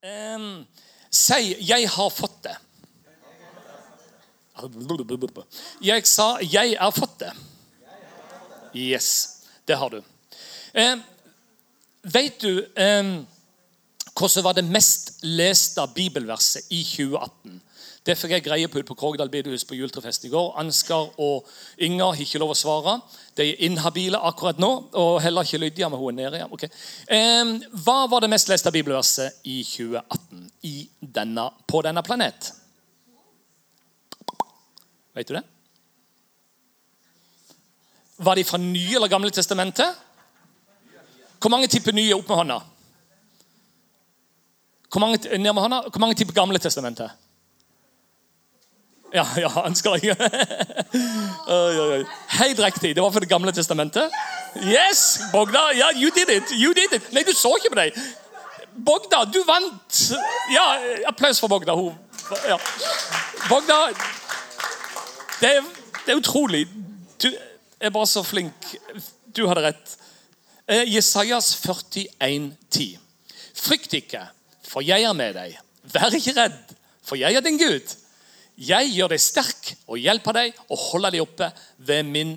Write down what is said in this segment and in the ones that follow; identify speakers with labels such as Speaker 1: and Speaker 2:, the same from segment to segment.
Speaker 1: Em, si 'Jeg har fått det'. Jeg sa 'Jeg har fått det'. Yes, det har du. Eh, vet du em, hva som var det mest leste bibelverset i 2018? Det fikk jeg greie på ute på Krogdal bedehus på juletrefest i går. Ansgar og Inger har ikke lov å svare. De er inhabile akkurat nå. Og heller ikke Lydia, men hun er nede igjen. Ok. Em, hva var det mest leste bibelverset i 2018 i denne, på denne planet? Vet du det? Var de fra Nye eller Gamle testamentet? Hvor mange tipper nye opp med hånda? Hvor mange, ned med hånda? Hvor mange tipper Gamle testamentet? Ja, ja, han skal ikke Oi, oi, oi. Helt riktig. Det var for Det gamle testamentet. Yes! Bogda, ja, you did it! You did it! Nei, du så ikke på deg. Bogda, du vant! Ja, applaus for Bogda. Hun, ja. Bogda, det er, det er utrolig. Du er bare så flink. Du hadde rett. Eh, Jesajas 41,10. Frykt ikke, for jeg er med deg. Vær ikke redd, for jeg er din Gud. Jeg gjør deg sterk og hjelper deg og holder deg oppe, ved min,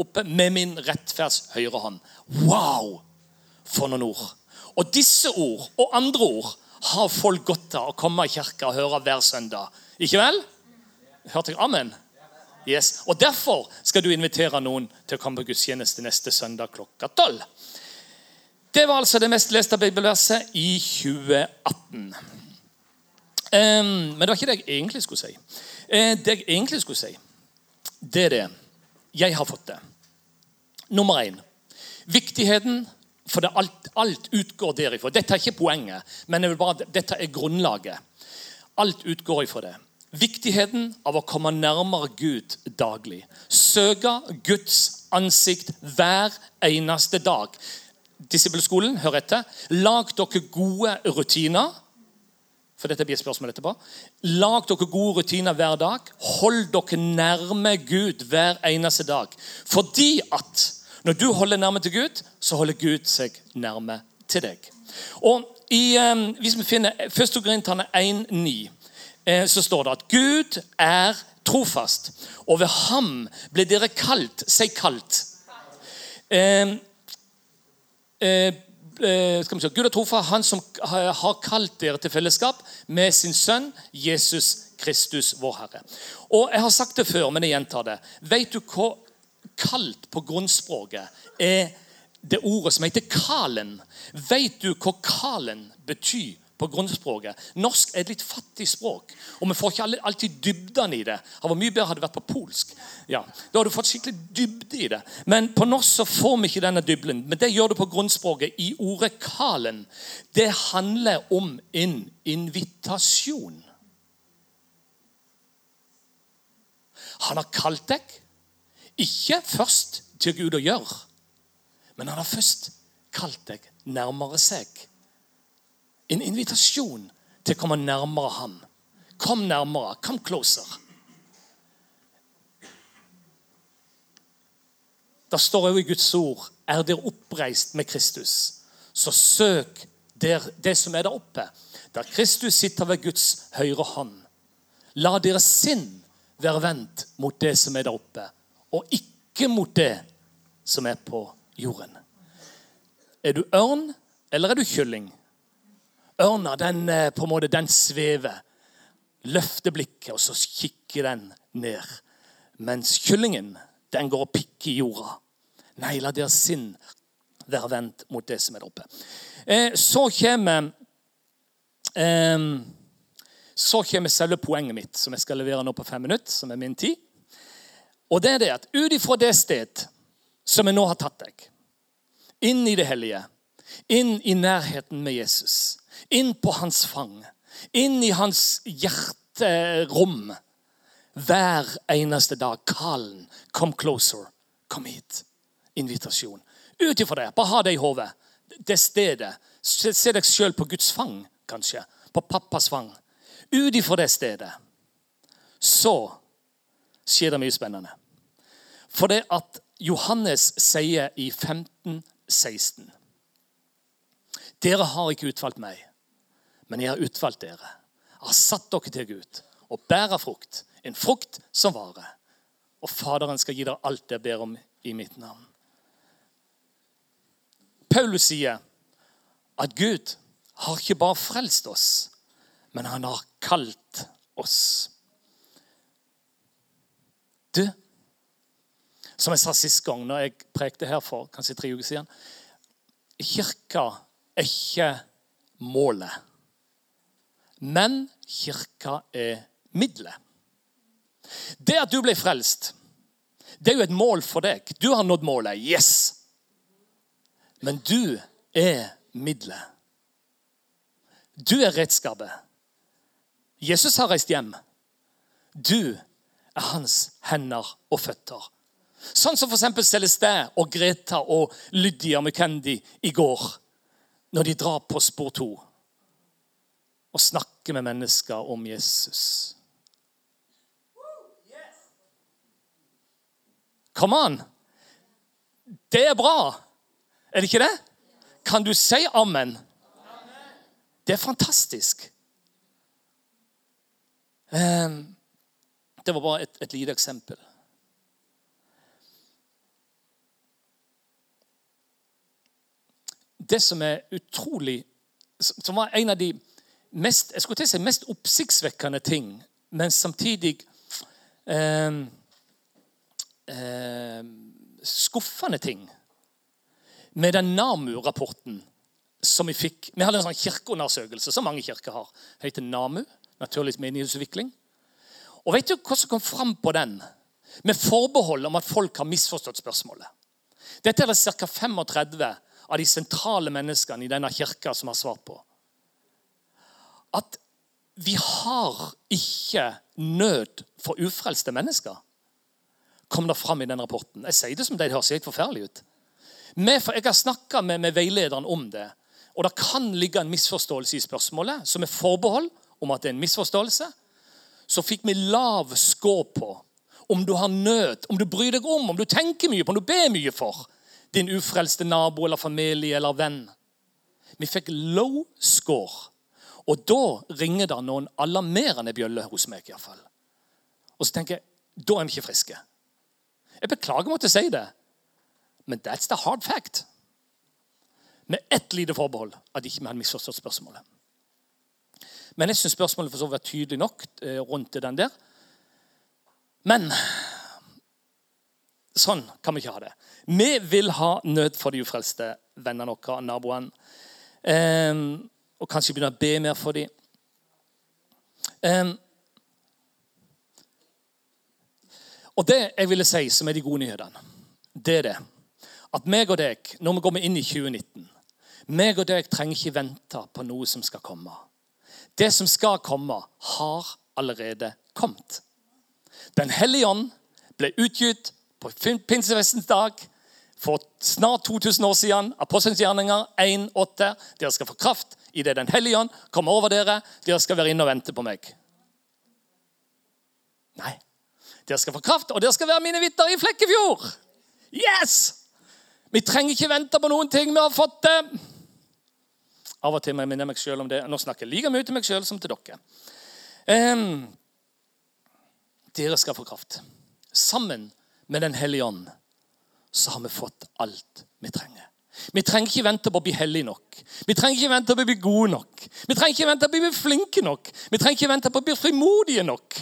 Speaker 1: oppe med min rettferds høyre hånd. Wow! For noen ord. Og disse ord og andre ord har folk godt av å komme i kirka og høre hver søndag. Ikke vel? Hørte jeg amen? Yes. Og Derfor skal du invitere noen til å komme på gudstjeneste neste søndag klokka tolv. Det var altså det mest leste bibelverset i 2018. Ehm, men det var ikke det jeg egentlig skulle si. Eh, det jeg egentlig skulle si, det er det. Jeg har fått det. Nummer én. Viktigheten For det alt, alt utgår derifra. Dette er ikke poenget, men jeg vil bare, dette er grunnlaget. Alt utgår ifra det. Viktigheten av å komme nærmere Gud daglig. Søke Guds ansikt hver eneste dag. Disippelskolen, hør etter. Lag dere gode rutiner. For dette blir et spørsmål etterpå. Lag dere gode rutiner hver dag. Hold dere nærme Gud hver eneste dag. Fordi at når du holder nærme til Gud, så holder Gud seg nærme til deg. Og i, eh, Hvis vi finner 1. Korinterne 1,9, eh, så står det at Gud er trofast. Og ved ham ble dere kalt. Si kalt. Eh, eh, eh, skal vi se, Gud er trofast, han som ha- har kalt dere til fellesskap med sin sønn Jesus Kristus, vår Herre. Og Jeg har sagt det før, men jeg gjentar det. Vet du hva kalt på grunnspråket er det ordet som heter kalen? Vet du hva kalen betyr? på grunnspråket. Norsk er et litt fattig språk, og vi får ikke alle- alltid dybden i det. Det hadde vært mye bedre hadde det vært på polsk. Ja, Da hadde du fått skikkelig dybde i det. Men på norsk så får vi ikke denne dybden. Men det gjør du på grunnspråket i ordet kalen. Det handler om en invitasjon. Han har kalt deg, ikke først til Gud å gjøre, men han har først kalt deg nærmere seg. En invitasjon til å komme nærmere ham. Kom nærmere. Come closer. Det står òg i Guds ord er dere oppreist med Kristus, så søk der, det som er der oppe, der Kristus sitter ved Guds høyre hånd. La deres sinn være vendt mot det som er der oppe, og ikke mot det som er på jorden. Er du ørn, eller er du kylling? Ørna den, eh, på en måte, den svever. Løfter blikket, og så kikker den ned. Mens kyllingen den går og pikker i jorda. Nei, la deres sinn være vendt mot det som er der oppe. Eh, så kommer eh, Så kommer selve poenget mitt, som jeg skal levere nå på fem minutter, som er min tid. Og det er det at ut ifra det sted som jeg nå har tatt deg, inn i det hellige, inn i nærheten med Jesus, inn på hans fang, inn i hans hjerterom. Hver eneste dag. Kallen. Come closer. Kom hit. Invitasjon. Ut ifra det. Bare ha det i hodet. Det stedet. Se, se deg sjøl på Guds fang, kanskje. På pappas fang. Ut ifra det stedet. Så skjer det mye spennende. For det at Johannes sier i 15, 16 Dere har ikke utvalgt meg, Men jeg har utvalgt dere. Jeg har satt dere til Gud og bærer frukt, en frukt som varer. Og Faderen skal gi dere alt dere ber om i mitt navn. Paulus sier at Gud har ikke bare frelst oss, men han har kalt oss. Du, som jeg sa sist gang når jeg prekte her for kanskje tre uker siden Kirka er ikke målet, men kirka er middelet. Det at du ble frelst, det er jo et mål for deg. Du har nådd målet. Yes! Men du er middelet. Du er redskapet. Jesus har reist hjem. Du er hans hender og føtter. Sånn som f.eks. Celestin og Greta og Lydia McKendy i går, når de drar på spor to og snakker med mennesker om Jesus. Come on! Det er bra, er det ikke det? Kan du si amen? Det er fantastisk. Ehm, Det var bare et, et lite eksempel. Det som er utrolig Som som var en av de mest, jeg skulle til å si, mest oppsiktsvekkende ting, men samtidig ehm, ehm, skuffende ting med den NAMU-rapporten som vi fikk. Vi hadde en sånn kirkeundersøkelse som mange kirker har. Det heter NAMU, Naturlig menighetsutvikling. Og vet du hva som kom fram på den? Med forbehold om at folk har misforstått spørsmålet. Dette er det ca. 35 av de sentrale menneskene i denne kirka som har svart på. At vi har ikke nød for ufrelste mennesker, kom det fram i den rapporten. Jeg sier det som det høres helt forferdelig ut. Med, for jeg har snakka med, med veilederen om det. Og det kan ligge en misforståelse i spørsmålet, som er forbehold om at det er en misforståelse. Så fikk vi lav score på om du har nød, om du bryr deg om, om du tenker mye på, om du ber mye for din ufrelste nabo eller familie eller venn. Vi fikk low score. Og da ringer det noen alarmerende bjøller hos meg. I hvert fall. Og så tenker jeg da er vi ikke friske. Jeg beklager å måtte si det. Men that's the hard fact. Med ett lite forbehold at ikke vi hadde misforstått spørsmålet. Men jeg syns spørsmålet for så vidt var tydelig nok eh, rundt til den der. Men sånn kan vi ikke ha det. Vi vil ha nød for de ufrelste vennene våre, naboene. Ehm, og kanskje begynne å be mer for dem. Ehm, og det jeg ville si, som er de gode nyhetene, det er det at meg og deg, når vi går inn i 2019 meg og deg trenger ikke vente på noe som skal komme. Det som skal komme, har allerede kommet. Den hellige ånd ble utgitt på pinsefestens dag for snart 2000 år siden. Apostelens gjerninger 1.8. Dere skal få kraft idet Den hellige ånd kommer over dere. Dere skal være inne og vente på meg. Nei. Dere skal få kraft, og dere skal være mine vitner i Flekkefjord. Yes! Vi trenger ikke vente på noen ting. Vi har fått det. Av og til må jeg minne meg selv om det. Nå snakker jeg like mye til meg sjøl som til dere. Em, dere skal få kraft. Sammen med Den hellige ånd så har vi fått alt vi trenger. Vi trenger ikke vente på å bli hellige nok. Vi trenger ikke vente på å bli gode nok. Vi trenger ikke vente på å bli flinke nok. Vi trenger ikke vente på å bli frimodige nok.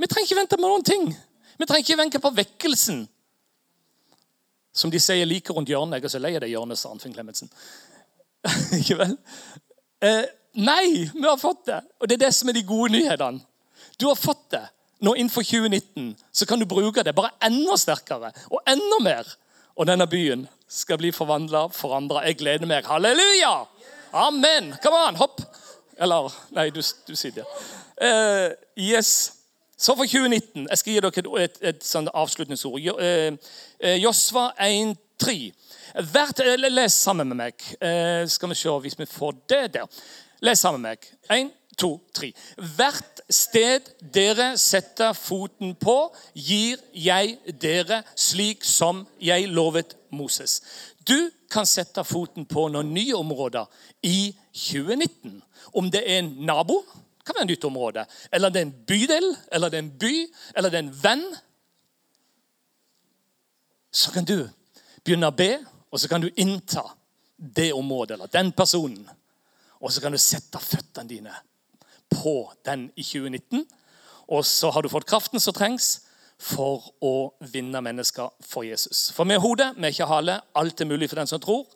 Speaker 1: Vi trenger ikke vente på noen ting. Vi trenger ikke vente på vekkelsen som de sier like rundt hjørnet. Jeg er så lei av det hjørnet, sa Arnfinn Clemetsen. ikke vel? Eh, nei, vi har fått det. Og det er det som er de gode nyhetene. Du har fått det. Nå innenfor 2019 så kan du bruke det bare enda sterkere og enda mer. Og denne byen skal bli forvandla, forandra. Jeg gleder meg. Halleluja! Amen! Kom an, hopp! Eller Nei, du, du sitter. Eh, yes. Så for 2019 Jeg skal gi dere et, et, et sånn avslutningsord. Jo- eh, eh, Josva 1,3. Hvert- eh, Les sammen med meg. Eh, Skal vi se hvis vi får det der. Les sammen med meg. Én, to, tre. Hvert sted dere setter foten på, gir jeg dere slik som jeg lovet Moses. Du kan sette foten på noen nye områder i 2019. Om det er en nabo, kan være et nytt område. Eller det er en bydel, eller det er en by, eller det er en venn. Så kan du begynne å be, og så kan du innta det området eller den personen. Og så kan du sette føttene dine på den i 2019. Og så har du fått kraften som trengs for å vinne mennesker for Jesus. For vi er hodet, vi er ikke hale. Alt er mulig for den som tror.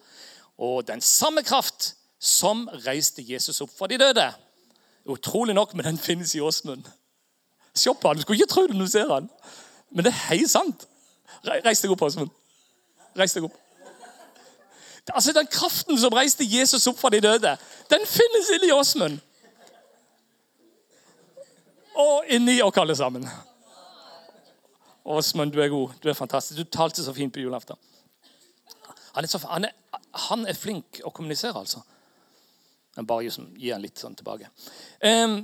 Speaker 1: Og den samme kraft som reiste Jesus opp fra de døde. Utrolig nok, men den finnes i Åsmund. Se på han, Du skulle ikke tro det når du ser han. Men det er helt sant. Re- Reis deg opp, Åsmund. Reis deg opp. Altså, Den kraften som reiste Jesus opp fra de døde, den finnes inni Åsmund. Og inni oss alle sammen. Åsmund, du er god. Du er fantastisk. Du talte så fint på julaften. Han er, så, han er, han er flink å kommunisere, altså. Men bare liksom, gi han litt sånn tilbake. Em,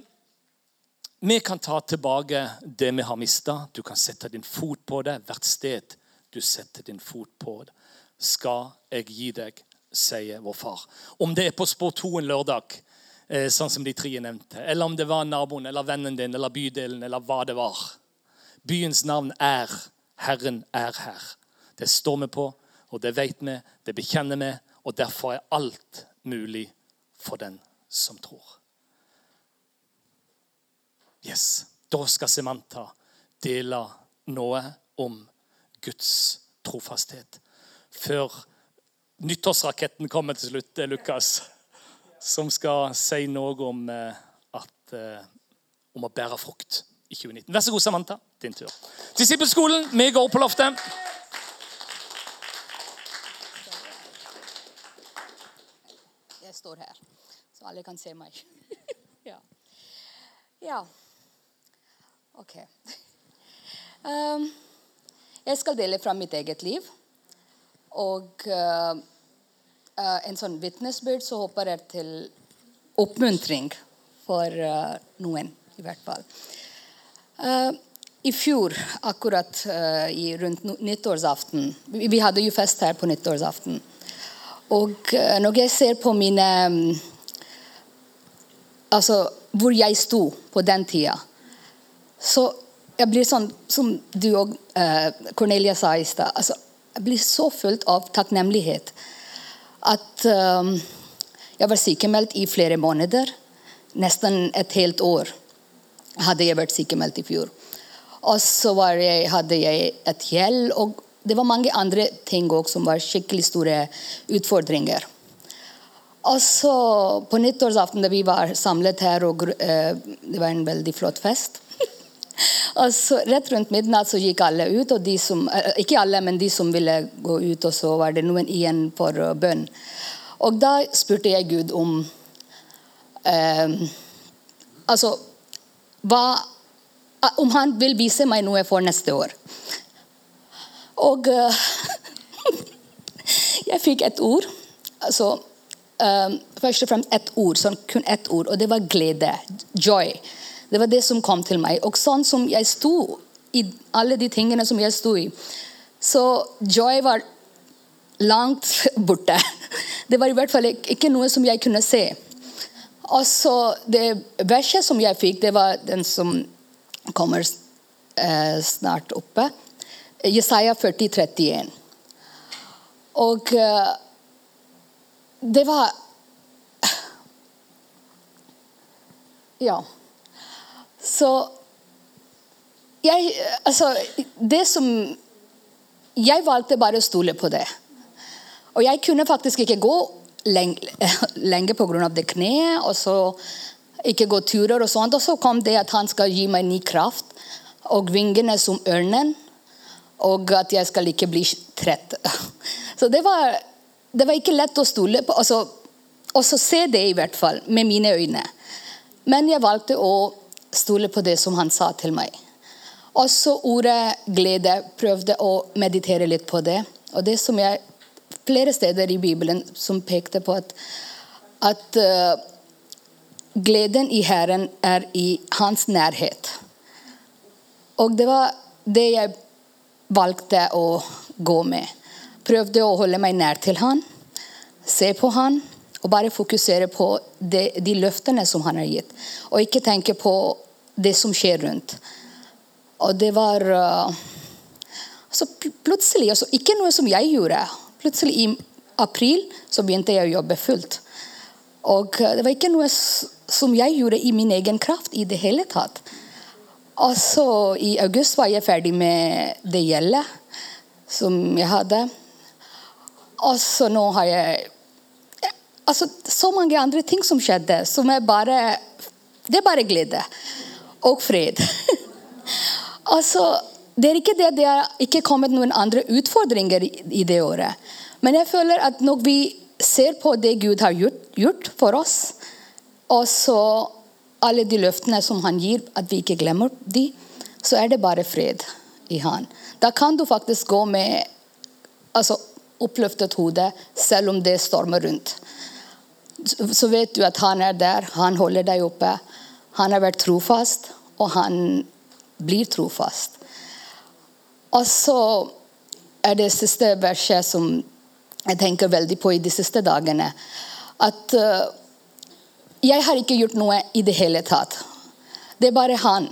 Speaker 1: vi kan ta tilbake det vi har mista. Du kan sette din fot på det. Hvert sted du setter din fot på det, skal jeg gi deg, sier vår far. Om det er på Spor 2 en lørdag, eh, sånn som de tre nevnte, eller om det var naboen eller vennen din eller bydelen eller hva det var. Byens navn er Herren er her. Det står vi på, og det vet vi, det bekjenner vi, og derfor er alt mulig for den som tror. Yes. Da skal Samantha dele noe om Guds trofasthet. Før nyttårsraketten kommer til slutt, det er Lukas, som skal si noe om, eh, at, eh, om å bære frukt i 2019. Vær så god, Samantha. Din tur. Disippelskolen, vi går opp på loftet.
Speaker 2: Jeg står her, så alle kan se meg. ja. ja. Ok. Um, jeg skal dele fra mitt eget liv. Og uh, uh, en sånn vitnesbyrd så håper jeg til oppmuntring for uh, noen, i hvert fall. Eh, I fjor, akkurat eh, i, rundt no- nyttårsaften vi, vi hadde jo fest her på nyttårsaften. Og eh, når jeg ser på mine mm, Altså hvor jeg sto på den tida, så jeg blir sånn som du og eh, Cornelia sa i stad. Altså, jeg blir så fullt av takknemlighet at eh, jeg var sykemeldt i flere måneder. Nesten et helt år hadde jeg vært sykemeldt i fjor. Og så var jeg, hadde jeg et gjeld, og det var mange andre ting også som var skikkelig store utfordringer. Og så på nyttårsaften da vi var samlet her, og gru- eh, det var en veldig flott fest og så Rett rundt midnatt så gikk alle ut, og de som, eh, ikke alle, men de som ville gå ut, og så var det noen igjen for eh, bønn. Og da spurte jeg Gud om eh, Altså hva, eh, om han vil vise meg noe for neste år. Og eh, jeg fikk et ord. Altså, eh, først og fremst ett ord, sånn, kun ett ord, og det var glede. Joy. Det var det som kom til meg. Og sånn som jeg sto i alle de tingene som jeg sto i, så joy var langt borte. Det var i hvert fall ikke ikke noe som jeg kunne se. Og så det verset som jeg fikk, det var den som kommer eh, snart oppe. Jesaja 40, 31. Og eh, det var Ja. Så jeg Altså, det som Jeg valgte bare å stole på det. Og jeg kunne faktisk ikke gå lenge, lenge pga. det kneet, og så ikke gå turer og sånt. Og så kom det at han skal gi meg ny kraft og vingene som ørnen, og at jeg skal ikke bli trett. Så det var, det var ikke lett å stole på. Altså, og så se det, i hvert fall, med mine øyne. Men jeg valgte å stole på det som han sa til meg. Også ordet glede. Prøvde å meditere litt på det. Og det som jeg Flere steder i Bibelen som pekte på at, at eh, gleden i Herren er i hans nærhet. Og det var det jeg valgte å gå med. Prøvde å holde meg nær til han. se på han og bare fokusere på de, de løftene som han har gitt. Og ikke tenke på det som skjer rundt. Og det var eh, så pl- plutselig, altså ikke noe som jeg gjorde. Plutselig i april så begynte jeg å jobbe fullt. Og eh, det var ikke noe s- som jeg gjorde i min egen kraft i det hele tatt. Og så i august var jeg ferdig med det gjeldet som jeg hadde. Og så nå har jeg altså, så mange andre ting som skjedde, som er bare Det er bare glede. Og fred. altså, det er ikke det det er ikke kommet noen andre utfordringer i, i det året. Men jeg føler at når vi ser på det Gud har gjort, gjort for oss, og så alle de løftene som han gir, at vi ikke glemmer de, så er det bare fred i han. Da kan du faktisk gå med altså, oppløftet hode, selv om det stormer rundt. Så så vet du at han er der, han holder deg oppe. Han har vært trofast, og han blir trofast. Og så er det siste verset som jeg tenker veldig på i de siste dagene. At eh, jeg har ikke gjort noe i det hele tatt. Det er bare han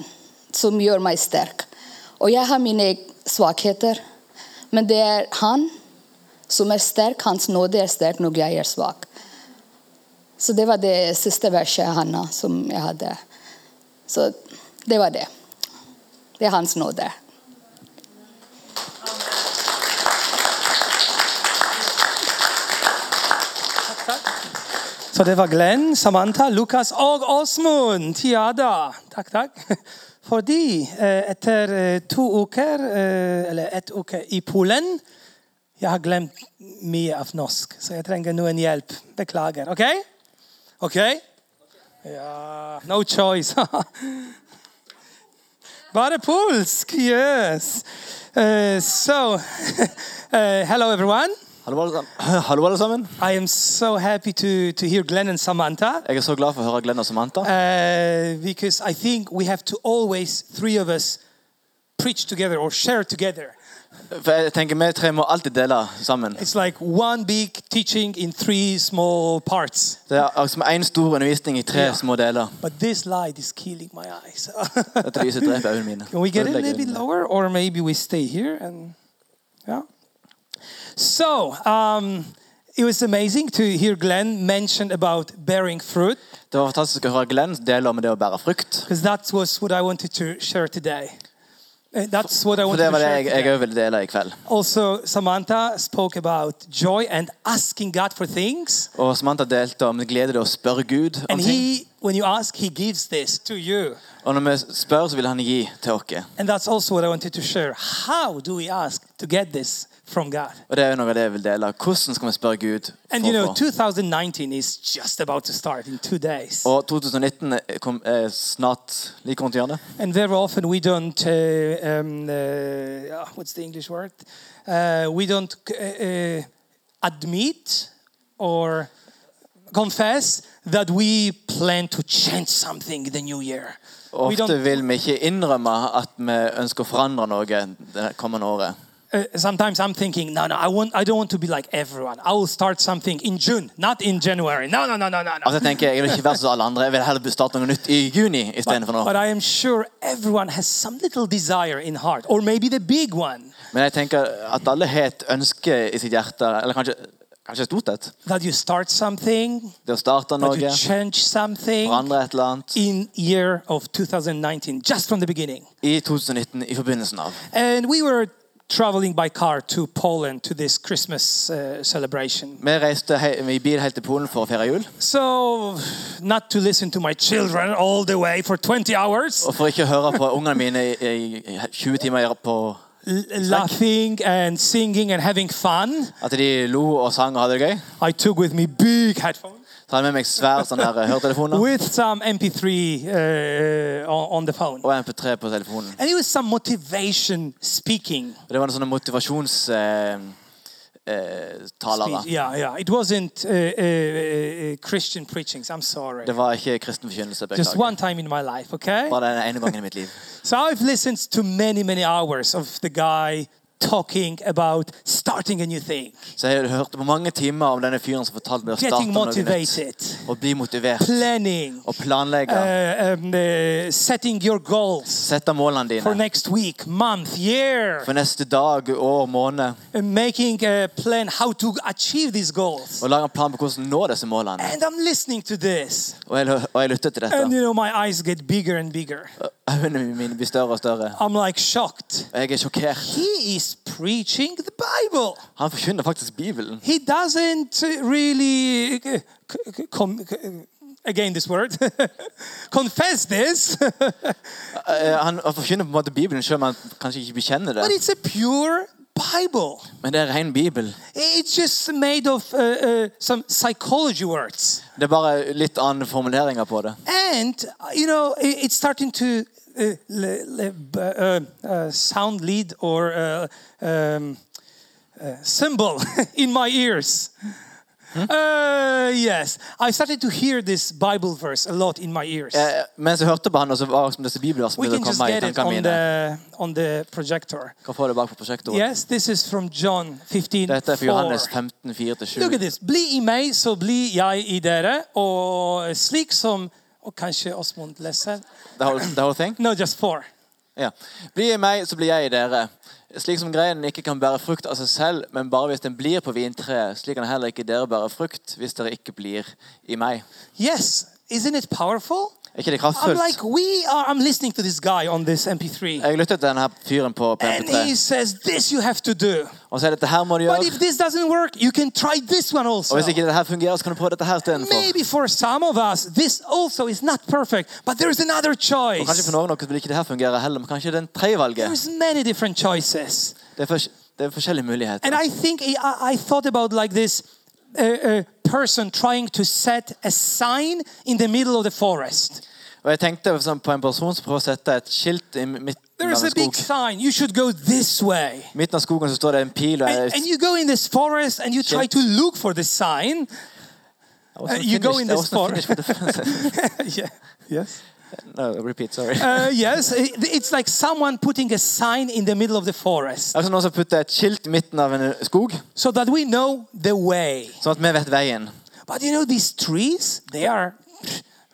Speaker 2: som gjør meg sterk. Og jeg har mine svakheter, men det er han som er sterk. Hans nåde er sterk når jeg er svak. Så det var det siste verset Hanna, som jeg hadde. Så det var det. Det er hans nåde.
Speaker 3: Så det var Glenn, Samantha, Lukas og Åsmund. Ja da. Takk, takk. Fordi eh, etter eh, to uker, eh, eller ett uke i Polen Jeg har glemt mye av norsk, så jeg trenger noen hjelp. Beklager. OK? OK? Ja No choice. Bare polsk! Yes. Eh, so eh, Hello, everyone.
Speaker 4: Hallo alle, sammen. Hallo alle sammen.
Speaker 3: I am so happy to, to hear Glenn and Samantha.
Speaker 4: Jeg er så glad for å høre Glenn og Samantha.
Speaker 3: uh, because I think we have to always, three of us, preach together or share together.
Speaker 4: For jeg tenker Vi tre må alltid dele sammen.
Speaker 3: It's like one big teaching in three small parts.
Speaker 4: Det er altså som én stor undervisning i tre små deler.
Speaker 3: But this light is killing my eyes.
Speaker 4: Dette lyset dreper øynene mine.
Speaker 3: Can we get it a
Speaker 4: Ødelegger
Speaker 3: little bit
Speaker 4: øynene.
Speaker 3: lower, or maybe we stay here and yeah. So um, it was amazing to hear Glenn mention about bearing fruit
Speaker 4: Det var fantastisk å høre Glenn dele om det å bære frukt.
Speaker 3: because that was what I wanted to share today. Uh, That's what I
Speaker 4: For
Speaker 3: wanted
Speaker 4: det
Speaker 3: to
Speaker 4: var det
Speaker 3: share.
Speaker 4: jeg
Speaker 3: today.
Speaker 4: jeg òg ville dele i kveld.
Speaker 3: Also, Samantha spoke about joy and asking God for things.
Speaker 4: Og Samantha delte om glede til å spørre Gud om
Speaker 3: And
Speaker 4: ting.
Speaker 3: He, when you ask, He gives this to you.
Speaker 4: Og når vi spør, så vil han gi til oss.
Speaker 3: And that's also what I wanted to share. How do we ask to get this from God?
Speaker 4: Og det er jo noe av det jeg vil dele. Hvordan skal vi spørre Gud?
Speaker 3: And
Speaker 4: for
Speaker 3: you
Speaker 4: å
Speaker 3: know,
Speaker 4: få?
Speaker 3: 2019 is just about to start in two days.
Speaker 4: Og 2019 er kom, er snart like rundt hjørnet.
Speaker 3: And very often we don't, uh, um, uh, ah, what's the English word? Uh, we don't uh, uh, admit or confess that we plan to change something in the new year.
Speaker 4: Og
Speaker 3: We
Speaker 4: Ofte
Speaker 3: don't,
Speaker 4: vil vi ikke innrømme at vi ønsker å forandre noe det kommende året.
Speaker 3: uh, sometimes I'm thinking, no, no, I, want, I don't want to be like everyone. I will start something in June, not in January. No, no, no, no, no,
Speaker 4: Altså
Speaker 3: no.
Speaker 4: Jeg tenker, jeg vil ikke være som alle andre. Jeg vil heller starte noe nytt i juni istedenfor
Speaker 3: But
Speaker 4: nå.
Speaker 3: I am sure everyone has some little desire in heart, or maybe the big one,
Speaker 4: Men jeg tenker at alle har et ønske i sitt hjerte, eller kanskje, kanskje stort et.
Speaker 3: that you start something,
Speaker 4: Det å starte
Speaker 3: that you
Speaker 4: noe,
Speaker 3: change something.
Speaker 4: forandre et eller annet.
Speaker 3: in year of 2019 just from the beginning
Speaker 4: I 2019 i forbindelsen av.
Speaker 3: and we were traveling by car to poland to this christmas uh, celebration
Speaker 4: Vi reiste he i bil helt til Polen for å feire jul.
Speaker 3: so not to listen to my children all the way for 20 hours
Speaker 4: Og for ikke å høre på ungene mine i, i, i 20 timer i- på
Speaker 3: l- laughing and singing and having fun
Speaker 4: at de lo og sang og hadde det gøy,
Speaker 3: i took with me big headphones
Speaker 4: så hadde jeg med meg svær sånn her hørtelefoner
Speaker 3: with some mp3 uh, on on the phone
Speaker 4: og MP3 på telefonen.
Speaker 3: and it was some motivation speaking
Speaker 4: Og Det var noen sånne motivasjonstalere. Eh, eh, talere.
Speaker 3: speech. yeah yeah it wasn't uh, uh, uh, christian preachings i'm sorry
Speaker 4: det var ikke kristen forkynnelse.
Speaker 3: just
Speaker 4: Beklager.
Speaker 3: one time in my life, okay?
Speaker 4: Bare den ene gangen i mitt liv.
Speaker 3: So I've listened to many, many hours of the guy talking about starting a new thing,
Speaker 4: Så jeg hørte på mange timer om denne fyren som fortalte meg å starte
Speaker 3: getting
Speaker 4: med noe nytt.
Speaker 3: motivated,
Speaker 4: Og bli motivert.
Speaker 3: planning,
Speaker 4: Og planlegge.
Speaker 3: uh, um, uh, setting your goals
Speaker 4: Sette målene
Speaker 3: for
Speaker 4: dine.
Speaker 3: next week, month, year,
Speaker 4: For neste dag, år, måned.
Speaker 3: and making a plan how to achieve these goals.
Speaker 4: Og lage en plan på hvordan nå disse målene.
Speaker 3: And I'm listening to this,
Speaker 4: Og jeg, og jeg lytter til
Speaker 3: and
Speaker 4: dette.
Speaker 3: you know my eyes get bigger and bigger.
Speaker 4: Uh, Øynene mine blir større og større.
Speaker 3: I'm like shocked.
Speaker 4: Og jeg er sjokkert.
Speaker 3: He is preaching the Bible.
Speaker 4: Han forkynner faktisk Bibelen.
Speaker 3: he doesn't really uh, c- c- com- c- again this word confess this
Speaker 4: Eh, Han han forkynner på en måte Bibelen selv om han kanskje ikke bekjenner
Speaker 3: but
Speaker 4: det.
Speaker 3: it's a pure bible
Speaker 4: Men det er ren Bibel.
Speaker 3: it's just made of uh, uh, some psychology words
Speaker 4: Det er bare litt annen formuleringer på det.
Speaker 3: and uh, you know i- it's starting to uh, le- le- b- uh, uh, sound lead or uh, um, uh, symbol in my ears
Speaker 4: Hmm?
Speaker 3: uh, yes i started to hear this bible verse a lot in my ears
Speaker 4: Eh, Mens jeg hørte på han, og så var det som disse
Speaker 3: We
Speaker 4: bibelversene
Speaker 3: can
Speaker 4: som
Speaker 3: just
Speaker 4: kom i
Speaker 3: get it
Speaker 4: tankene
Speaker 3: on
Speaker 4: mine.
Speaker 3: the on the projector.
Speaker 4: Kan få det bak på prosjektordet.
Speaker 3: Yes, this is from John 15.
Speaker 4: Dette er for Johannes
Speaker 3: 4.
Speaker 4: 15, 4-7.
Speaker 3: Look at this. Bli i meg, så blir jeg i dere. Og slik som Og kanskje Åsmund leser?
Speaker 4: The whole, the whole thing?
Speaker 3: No, just four.
Speaker 4: Ja. Bli i meg, så blir jeg i dere. Slik som greinen ikke kan bære frukt av seg selv, men bare hvis den blir på vintreet, slik kan heller ikke dere bære frukt hvis dere ikke blir i meg.
Speaker 3: Yes, isn't it powerful?
Speaker 4: Er ikke det
Speaker 3: I'm
Speaker 4: kraftfullt?
Speaker 3: like we are. I'm listening to this guy on this MP3,
Speaker 4: Jeg lyttet til denne her fyren på
Speaker 3: and he
Speaker 4: MP3,
Speaker 3: says this you have to do.
Speaker 4: og så er dette her må du
Speaker 3: But
Speaker 4: gjøre.
Speaker 3: if this doesn't work, you can try this one also.
Speaker 4: Og hvis ikke dette her fungerer, så kan du prøve dette her istedenfor.
Speaker 3: Maybe for some of us, this also is not perfect, but there is another
Speaker 4: Og kanskje
Speaker 3: choice.
Speaker 4: for noen av dere vil ikke det her fungere heller, men kanskje den tredje valget.
Speaker 3: There's many different choices,
Speaker 4: Det er, fors- det er forskjellige
Speaker 3: and
Speaker 4: muligheter.
Speaker 3: I think I, I thought about like this uh, uh, person trying to set a sign in the middle of the forest.
Speaker 4: Og jeg tenkte for eksempel på en person som prøver å sette et skilt i midten
Speaker 3: There
Speaker 4: av
Speaker 3: is
Speaker 4: en
Speaker 3: a big
Speaker 4: skog.
Speaker 3: sign. You should go this way,
Speaker 4: I midten av skogen så står det en pil, og
Speaker 3: and, and
Speaker 4: jeg,
Speaker 3: you go in this forest and you try
Speaker 4: Shit.
Speaker 3: to look for the sign. you go in this far. yeah. Yes.
Speaker 4: No, repeat, sorry.
Speaker 3: Uh, yes. it- it's like someone putting a sign in the middle of the forest,
Speaker 4: Altså noen som putter et skilt i midten av en skog,
Speaker 3: so that we know the way.
Speaker 4: sånn at vi vet veien.
Speaker 3: But you know, these trees, they are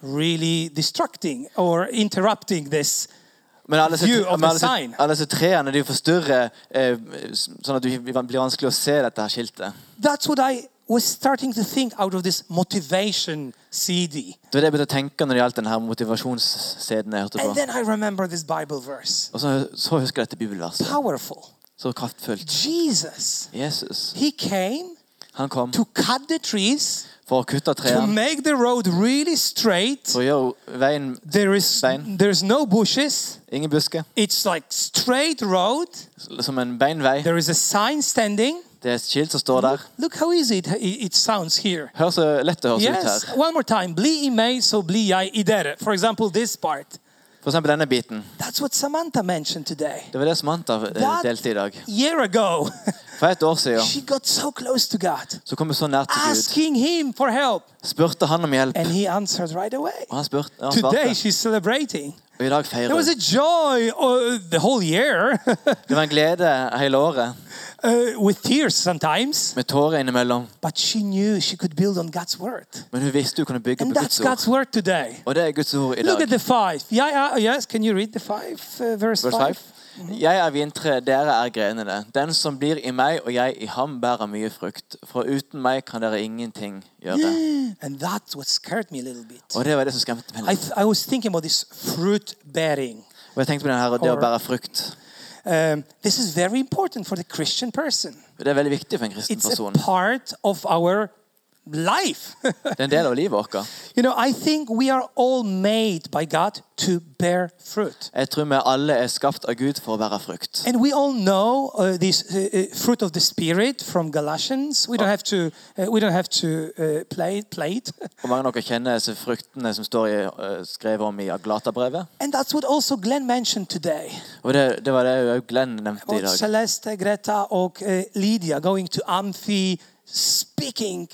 Speaker 3: really distracting or interrupting this.
Speaker 4: Men alle disse,
Speaker 3: View of
Speaker 4: men alle
Speaker 3: the sign.
Speaker 4: disse, alle disse trærne de forstyrrer, eh, sånn at det blir vanskelig å se dette her skiltet.
Speaker 3: That's what I was starting to think out of this motivation CD.
Speaker 4: Det var det jeg begynte å tenke når det gjaldt denne her motivasjonsscenen jeg hørte
Speaker 3: And
Speaker 4: på.
Speaker 3: then I remember this Bible verse.
Speaker 4: Og så, så husker jeg dette bibelverset.
Speaker 3: Powerful.
Speaker 4: Så kraftfullt.
Speaker 3: Jesus,
Speaker 4: Jesus,
Speaker 3: he came
Speaker 4: han kom
Speaker 3: to cut the trees,
Speaker 4: for å kutte
Speaker 3: to
Speaker 4: trærne,
Speaker 3: make the road really straight.
Speaker 4: for å gjøre veien
Speaker 3: There is
Speaker 4: Bein.
Speaker 3: there's no bushes.
Speaker 4: ingen busker,
Speaker 3: It's like straight road.
Speaker 4: som en beinvei.
Speaker 3: There is a sign standing.
Speaker 4: Det er et skilt som står der.
Speaker 3: Look how easy it, it sounds here.
Speaker 4: Hør så lett det høres ut
Speaker 3: Yes,
Speaker 4: her.
Speaker 3: one more time. Bli i meg, så blir jeg i dere. For example, this part.
Speaker 4: For eksempel denne biten.
Speaker 3: That's what Samantha mentioned today.
Speaker 4: Det var det Samantha eh,
Speaker 3: That-
Speaker 4: delte i dag.
Speaker 3: Year ago,
Speaker 4: For et år siden
Speaker 3: she got so close to God,
Speaker 4: så kom vi så nært til Gud.
Speaker 3: asking Him for help,
Speaker 4: Spurte han om hjelp.
Speaker 3: and He answered right away.
Speaker 4: Og han, spurte, han
Speaker 3: Today,
Speaker 4: svarte.
Speaker 3: she's celebrating.
Speaker 4: Og i dag
Speaker 3: There
Speaker 4: feirer
Speaker 3: was
Speaker 4: hun.
Speaker 3: a joy uh, the whole year,
Speaker 4: Det var en glede hele året,
Speaker 3: uh, with tears sometimes,
Speaker 4: med tårer innimellom.
Speaker 3: but she knew she could build on God's word.
Speaker 4: Men hun visste hun kunne bygge
Speaker 3: And
Speaker 4: på
Speaker 3: that's
Speaker 4: Guds ord.
Speaker 3: God's word today.
Speaker 4: Og det er Guds ord i
Speaker 3: Look
Speaker 4: dag.
Speaker 3: at the five. Yeah, yeah, uh, yes, can you read the five, uh, verse,
Speaker 4: Vers
Speaker 3: five? Mm-hmm.
Speaker 4: 5. Jeg er vintre, dere er grenene. Den som blir i meg og jeg i ham, bærer mye frukt. For uten meg kan dere ingenting gjøre.
Speaker 3: And that's what scared me a little bit.
Speaker 4: Og det var det som skremte meg
Speaker 3: I,
Speaker 4: litt.
Speaker 3: th- I was thinking about this fruit bearing.
Speaker 4: Og jeg tenkte på den her, det å
Speaker 3: Or-
Speaker 4: bære frukt.
Speaker 3: Um, this is very important for the Christian person.
Speaker 4: Det er veldig viktig for en kristen
Speaker 3: It's a
Speaker 4: person.
Speaker 3: part of our life.
Speaker 4: Det er en del av livet vårt.
Speaker 3: you know, I think we are all made by God to bear fruit.
Speaker 4: Jeg tror vi alle er skapt av Gud for å bære frukt.
Speaker 3: And we all know uh, this uh, uh, fruit of the spirit from Galatians. We don't have to. Uh, we don't have to uh, play it. Play it.
Speaker 4: Og mange av dere kjenner disse fruktene som står i, eh, skrevet om i Aglata-brevet.
Speaker 3: And that's what also Glenn mentioned today Oh,
Speaker 4: Og det, det var det jo Glenn nevnte i
Speaker 3: about
Speaker 4: dag.
Speaker 3: Celeste, Greta, og uh, Lydia going to Amphi, speaking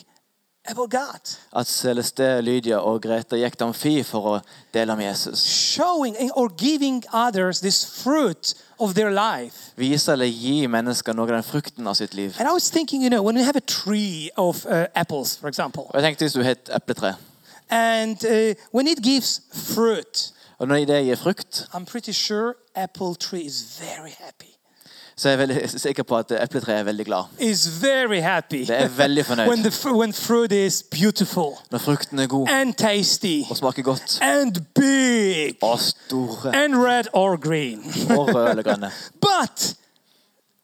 Speaker 3: about God,
Speaker 4: At Celeste, Lydia og Greta gikk til Amfi for å dele om Jesus.
Speaker 3: showing and- or giving others this fruit of their life.
Speaker 4: Vise eller gi mennesker noe av den frukten av sitt liv.
Speaker 3: And I was thinking, you know, when you have a tree of uh, apples, for example,
Speaker 4: Og jeg tenkte hvis du har et epletre,
Speaker 3: and uh, when it gives fruit,
Speaker 4: og når det gir frukt,
Speaker 3: I'm pretty sure apple tree is very happy.
Speaker 4: så er jeg veldig sikker på at epletreet er veldig glad.
Speaker 3: Is very happy
Speaker 4: Det er veldig
Speaker 3: when
Speaker 4: fornøyd
Speaker 3: the fr- when fruit is beautiful
Speaker 4: når frukten er god
Speaker 3: and tasty
Speaker 4: og smaker godt
Speaker 3: and big
Speaker 4: og store
Speaker 3: and red or green.
Speaker 4: og røde eller grønne.
Speaker 3: But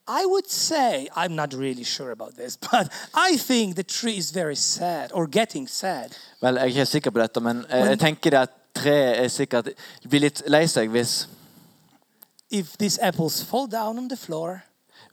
Speaker 3: I would say, I'm not really sure about this, but I think the tree is very sad or getting sad
Speaker 4: Vel, jeg er ikke helt sikker på dette, men eh, jeg tenker det at treet er sikkert blir litt lei seg hvis,
Speaker 3: if these apples fall down on the floor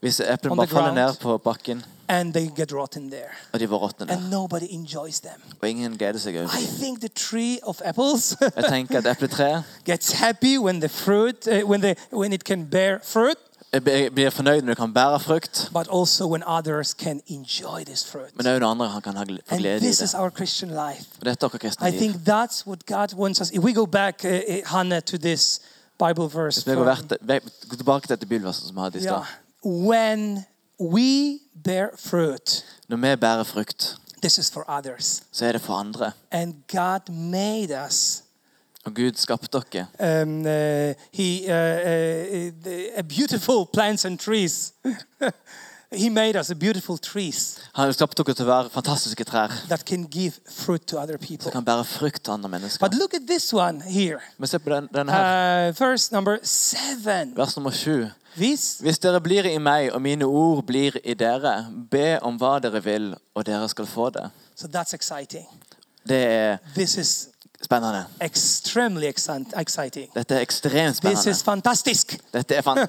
Speaker 4: hvis
Speaker 3: On
Speaker 4: eplene
Speaker 3: the
Speaker 4: bare
Speaker 3: ground.
Speaker 4: faller ned på bakken
Speaker 3: and they get rotten there
Speaker 4: og de bare råtner der.
Speaker 3: and nobody enjoys them.
Speaker 4: Og ingen gleder seg over
Speaker 3: I
Speaker 4: dem.
Speaker 3: think the tree of apples
Speaker 4: Jeg tenker at epletreet
Speaker 3: gets happy when the fruit, uh, when, the, when it can bear fruit,
Speaker 4: jeg blir- blir fornøyd når det kan bære frukt,
Speaker 3: but also when others can enjoy this fruit.
Speaker 4: men også når andre han kan ha gl- få
Speaker 3: And
Speaker 4: glede i
Speaker 3: this is
Speaker 4: det.
Speaker 3: our Christian life.
Speaker 4: Og dette er vårt kristne
Speaker 3: I
Speaker 4: liv.
Speaker 3: think that's what God wants us. If we go back, uh, uh, Hannah, to this Bible verse,
Speaker 4: Hvis vi går
Speaker 3: from-
Speaker 4: hvert- ve- går tilbake til dette bilverset som vi hadde i
Speaker 3: yeah,
Speaker 4: stad.
Speaker 3: when we bear fruit,
Speaker 4: Når vi bærer frukt,
Speaker 3: this is for others.
Speaker 4: så er det for andre.
Speaker 3: And God made us.
Speaker 4: Og Gud skapte dere.
Speaker 3: Um, uh, he uh, uh, uh, the- a beautiful plants and trees. he made us a beautiful trees
Speaker 4: Han skapte dere til å være fantastiske trær.
Speaker 3: that can give fruit to other people.
Speaker 4: Det kan bære frukt til andre mennesker.
Speaker 3: But look at this one here,
Speaker 4: Men se på den, den her.
Speaker 3: uh, verse number seven.
Speaker 4: Vers nummer sju.
Speaker 3: This
Speaker 4: Hvis dere blir i meg, og mine ord blir i dere, be om hva dere vil, og dere skal få det.
Speaker 3: so that's exciting.
Speaker 4: Det er
Speaker 3: This is
Speaker 4: spennende.
Speaker 3: extremely exan- exciting.
Speaker 4: Dette er ekstremt
Speaker 3: This is
Speaker 4: spennende.
Speaker 3: fantastic.
Speaker 4: Dette er fan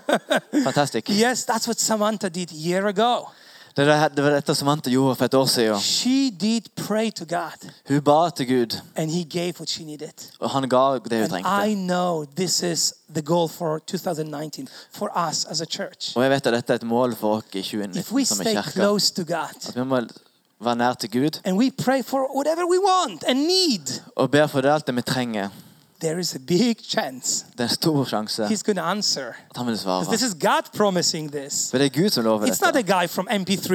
Speaker 4: fantastisk.
Speaker 3: Yes, that's what Samantha did year ago.
Speaker 4: Det, er det- det var dette Samantha gjorde for et år siden.
Speaker 3: She did pray to God,
Speaker 4: Hun ba til Gud,
Speaker 3: and He gave what she needed.
Speaker 4: og han ga det hun
Speaker 3: And I
Speaker 4: trengte.
Speaker 3: know this is the goal for 2019 for us as a church.
Speaker 4: Og jeg vet at dette er et mål for oss i
Speaker 3: If we
Speaker 4: 2019 som er
Speaker 3: stay
Speaker 4: kirka.
Speaker 3: close to God
Speaker 4: At vi må være nær til Gud
Speaker 3: and we pray for whatever we want and need,
Speaker 4: og ber for det alt det vi trenger.
Speaker 3: there is a big chance
Speaker 4: Det er en stor sjanse
Speaker 3: He's going to answer.
Speaker 4: at han vil
Speaker 3: 'Cause This
Speaker 4: svare.
Speaker 3: is God promising this.
Speaker 4: For det er Gud som lover
Speaker 3: It's not a
Speaker 4: dette.
Speaker 3: guy from MP3.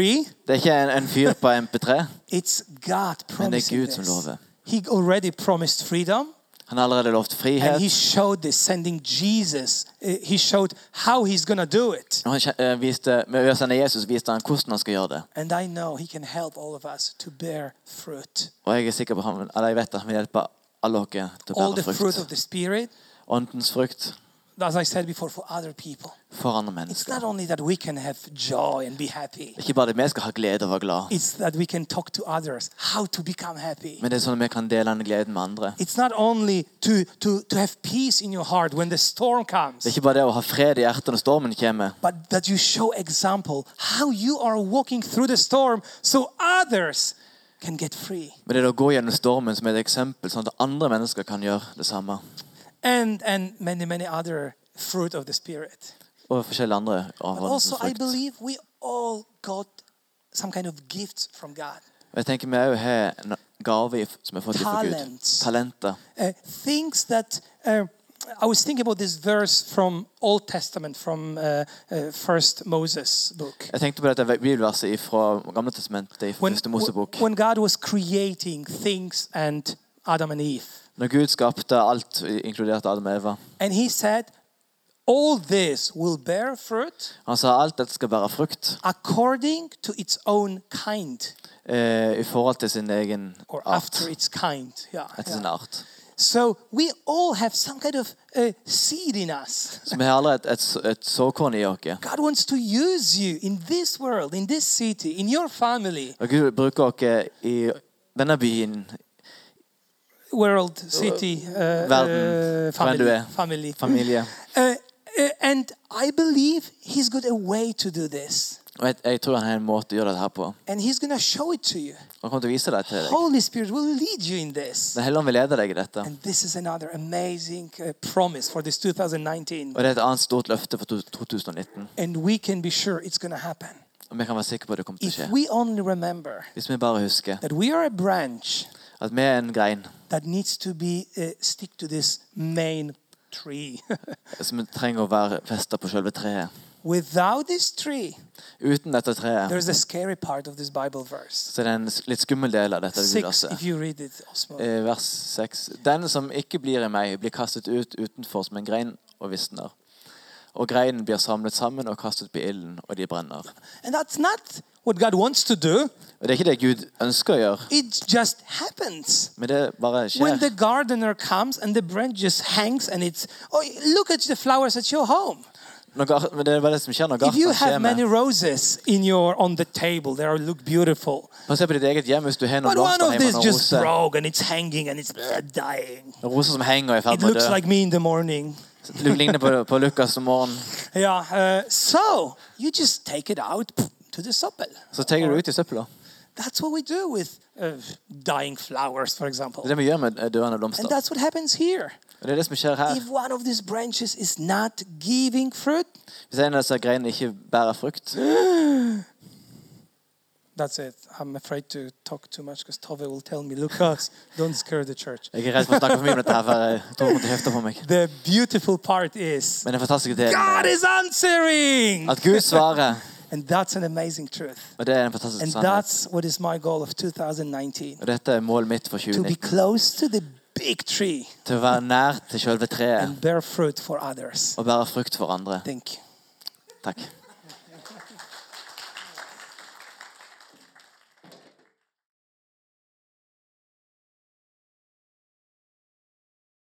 Speaker 4: Det er ikke en, en fyr på MP3.
Speaker 3: It's God
Speaker 4: Men det er
Speaker 3: promising
Speaker 4: Gud som
Speaker 3: this.
Speaker 4: lover.
Speaker 3: He already promised freedom,
Speaker 4: Han har allerede lovt frihet.
Speaker 3: and he showed this, sending Jesus. Eh, He showed how he's gonna do it.
Speaker 4: Og han kje- eh, viste, med å sende Jesus viste han hvordan han skal gjøre det.
Speaker 3: And I know he can help all of us to bear fruit,
Speaker 4: Og jeg er sikker på han, eller jeg vet at han vil hjelpe alle dere til å
Speaker 3: all the
Speaker 4: bære
Speaker 3: fruit of
Speaker 4: frukt.
Speaker 3: the Spirit,
Speaker 4: Åndens frukt
Speaker 3: as I said before, for other people.
Speaker 4: for andre
Speaker 3: It's
Speaker 4: mennesker.
Speaker 3: not only that we can have joy and be happy.
Speaker 4: Det er Ikke bare det vi skal ha glede og være glad,
Speaker 3: It's that we can talk to others how to become happy.
Speaker 4: men det er sånn at vi kan dele den gleden med andre.
Speaker 3: It's not only to, to, to have peace in your heart when the storm comes.
Speaker 4: Det er ikke bare det å ha fred i hjertet når stormen kommer,
Speaker 3: but that you show example how you are walking through the storm so others can get free
Speaker 4: men det er det å gå gjennom stormen som er et eksempel, sånn at andre mennesker kan gjøre det samme.
Speaker 3: and and many many other fruit of the spirit
Speaker 4: Og forskjellige andre av
Speaker 3: but
Speaker 4: åndens
Speaker 3: also i
Speaker 4: frukt.
Speaker 3: believe we all got some kind of gifts from god
Speaker 4: Og jeg tenker vi også har en gave i- som vi har fått fra Gud.
Speaker 3: Talents.
Speaker 4: Talenter.
Speaker 3: Uh, things that uh, i was thinking about this verse from old testament from uh, uh, first moses book
Speaker 4: Jeg tenkte på dette bibelverset fra Gamle testamentet, fra
Speaker 3: when,
Speaker 4: Første Mosebok.
Speaker 3: when god was creating things and adam and eve
Speaker 4: Når Gud skapte alt, inkludert Adam og Eva,
Speaker 3: and he said all this will bear fruit
Speaker 4: han sa alt dette skal bære frukt
Speaker 3: according to its own kind
Speaker 4: eh, i forhold til sin egen
Speaker 3: or
Speaker 4: art.
Speaker 3: after its kind. Yeah,
Speaker 4: Etter
Speaker 3: yeah.
Speaker 4: sin art.
Speaker 3: So we all have some kind of uh, seed in us.
Speaker 4: Så vi har allerede et, et, et såkorn i oss.
Speaker 3: God wants to use you in this world, in this city, in your family,
Speaker 4: Og Gud bruker oss i denne byen,
Speaker 3: world, city, uh,
Speaker 4: Verden,
Speaker 3: uh,
Speaker 4: where do
Speaker 3: family,
Speaker 4: I-
Speaker 3: family.
Speaker 4: familie.
Speaker 3: Uh, uh, and I believe He's got a way to do this,
Speaker 4: Og jeg, jeg tror han har en måte å gjøre dette her på.
Speaker 3: and He's gonna show it to you.
Speaker 4: Og han kommer til å vise det til deg.
Speaker 3: Holy Spirit will lead you in this.
Speaker 4: Den hellige ånd vil lede deg i dette.
Speaker 3: And this is another amazing uh, promise for this 2019.
Speaker 4: Og det er et annet stort løfte for to- 2019.
Speaker 3: and we can be sure it's going to happen.
Speaker 4: Og vi kan være sikre på at det kommer til å
Speaker 3: if
Speaker 4: skje.
Speaker 3: we only remember
Speaker 4: Hvis vi bare husker
Speaker 3: that we are a branch
Speaker 4: at vi er en grein
Speaker 3: that needs to be uh, stick to this main tree.
Speaker 4: som trenger å være festa på selve treet.
Speaker 3: Without this tree,
Speaker 4: Uten dette treet
Speaker 3: there's a scary part of this Bible verse.
Speaker 4: så er det en s- litt skummel del av dette
Speaker 3: Six,
Speaker 4: gudlasset.
Speaker 3: if you read it, Osmo.
Speaker 4: Eh, Vers 6. Den som ikke blir i meg, blir kastet ut utenfor som en grein og visner. Og greinen blir samlet sammen og kastet på ilden, og de brenner.
Speaker 3: And that's not what God wants to do.
Speaker 4: Og Det er ikke det Gud ønsker å gjøre,
Speaker 3: It just happens.
Speaker 4: men det bare
Speaker 3: When the
Speaker 4: skjer.
Speaker 3: gardener comes and the branch just hangs and it's, oh, look at the flowers at your home.
Speaker 4: Når gar- men det er bare det som skjer når
Speaker 3: If you
Speaker 4: gartneren
Speaker 3: have
Speaker 4: skjer
Speaker 3: many
Speaker 4: med.
Speaker 3: roses in your on the table, they are, look beautiful.
Speaker 4: Bare se på ditt eget hjem hvis du har noen
Speaker 3: But one
Speaker 4: blomster
Speaker 3: of
Speaker 4: hjemme
Speaker 3: these
Speaker 4: og
Speaker 3: just
Speaker 4: roser.
Speaker 3: broke and it's hanging and it's uh, dying.
Speaker 4: Roser som henger og er i
Speaker 3: It
Speaker 4: ferd med å
Speaker 3: looks
Speaker 4: dø.
Speaker 3: like me in the morning.
Speaker 4: Du ligner på, på Lukas om morgenen.
Speaker 3: Yeah. Uh, so you just take it out pff, to the supper.
Speaker 4: Så tar du det ut i søpla.
Speaker 3: That's what we do with uh, dying flowers, for example.
Speaker 4: Det er det vi gjør med eh, døende
Speaker 3: And
Speaker 4: blomster.
Speaker 3: that's what happens here.
Speaker 4: Og det er det som skjer her.
Speaker 3: If one of these branches is not giving fruit,
Speaker 4: Hvis en av disse greinene ikke bærer frukt,
Speaker 3: that's it. I'm afraid to talk too much because Tove will tell me, Lucas, don't scare the church.
Speaker 4: Jeg er redd for å snakke for mye om dette her, for jeg tror hun kommer til å hefte på meg.
Speaker 3: The beautiful part is
Speaker 4: Men den fantastiske
Speaker 3: God
Speaker 4: delen er
Speaker 3: is answering.
Speaker 4: at Gud svarer,
Speaker 3: And that's an amazing truth.
Speaker 4: og det er en fantastisk
Speaker 3: And
Speaker 4: sannhet.
Speaker 3: that's what is my goal of 2019
Speaker 4: Og dette er målet mitt for
Speaker 3: to be
Speaker 4: 2019.
Speaker 3: close to the big tree
Speaker 4: Til å være nær til selve treet
Speaker 3: and bear fruit for others.
Speaker 4: og bære frukt for andre.
Speaker 3: Thank you.
Speaker 4: Takk.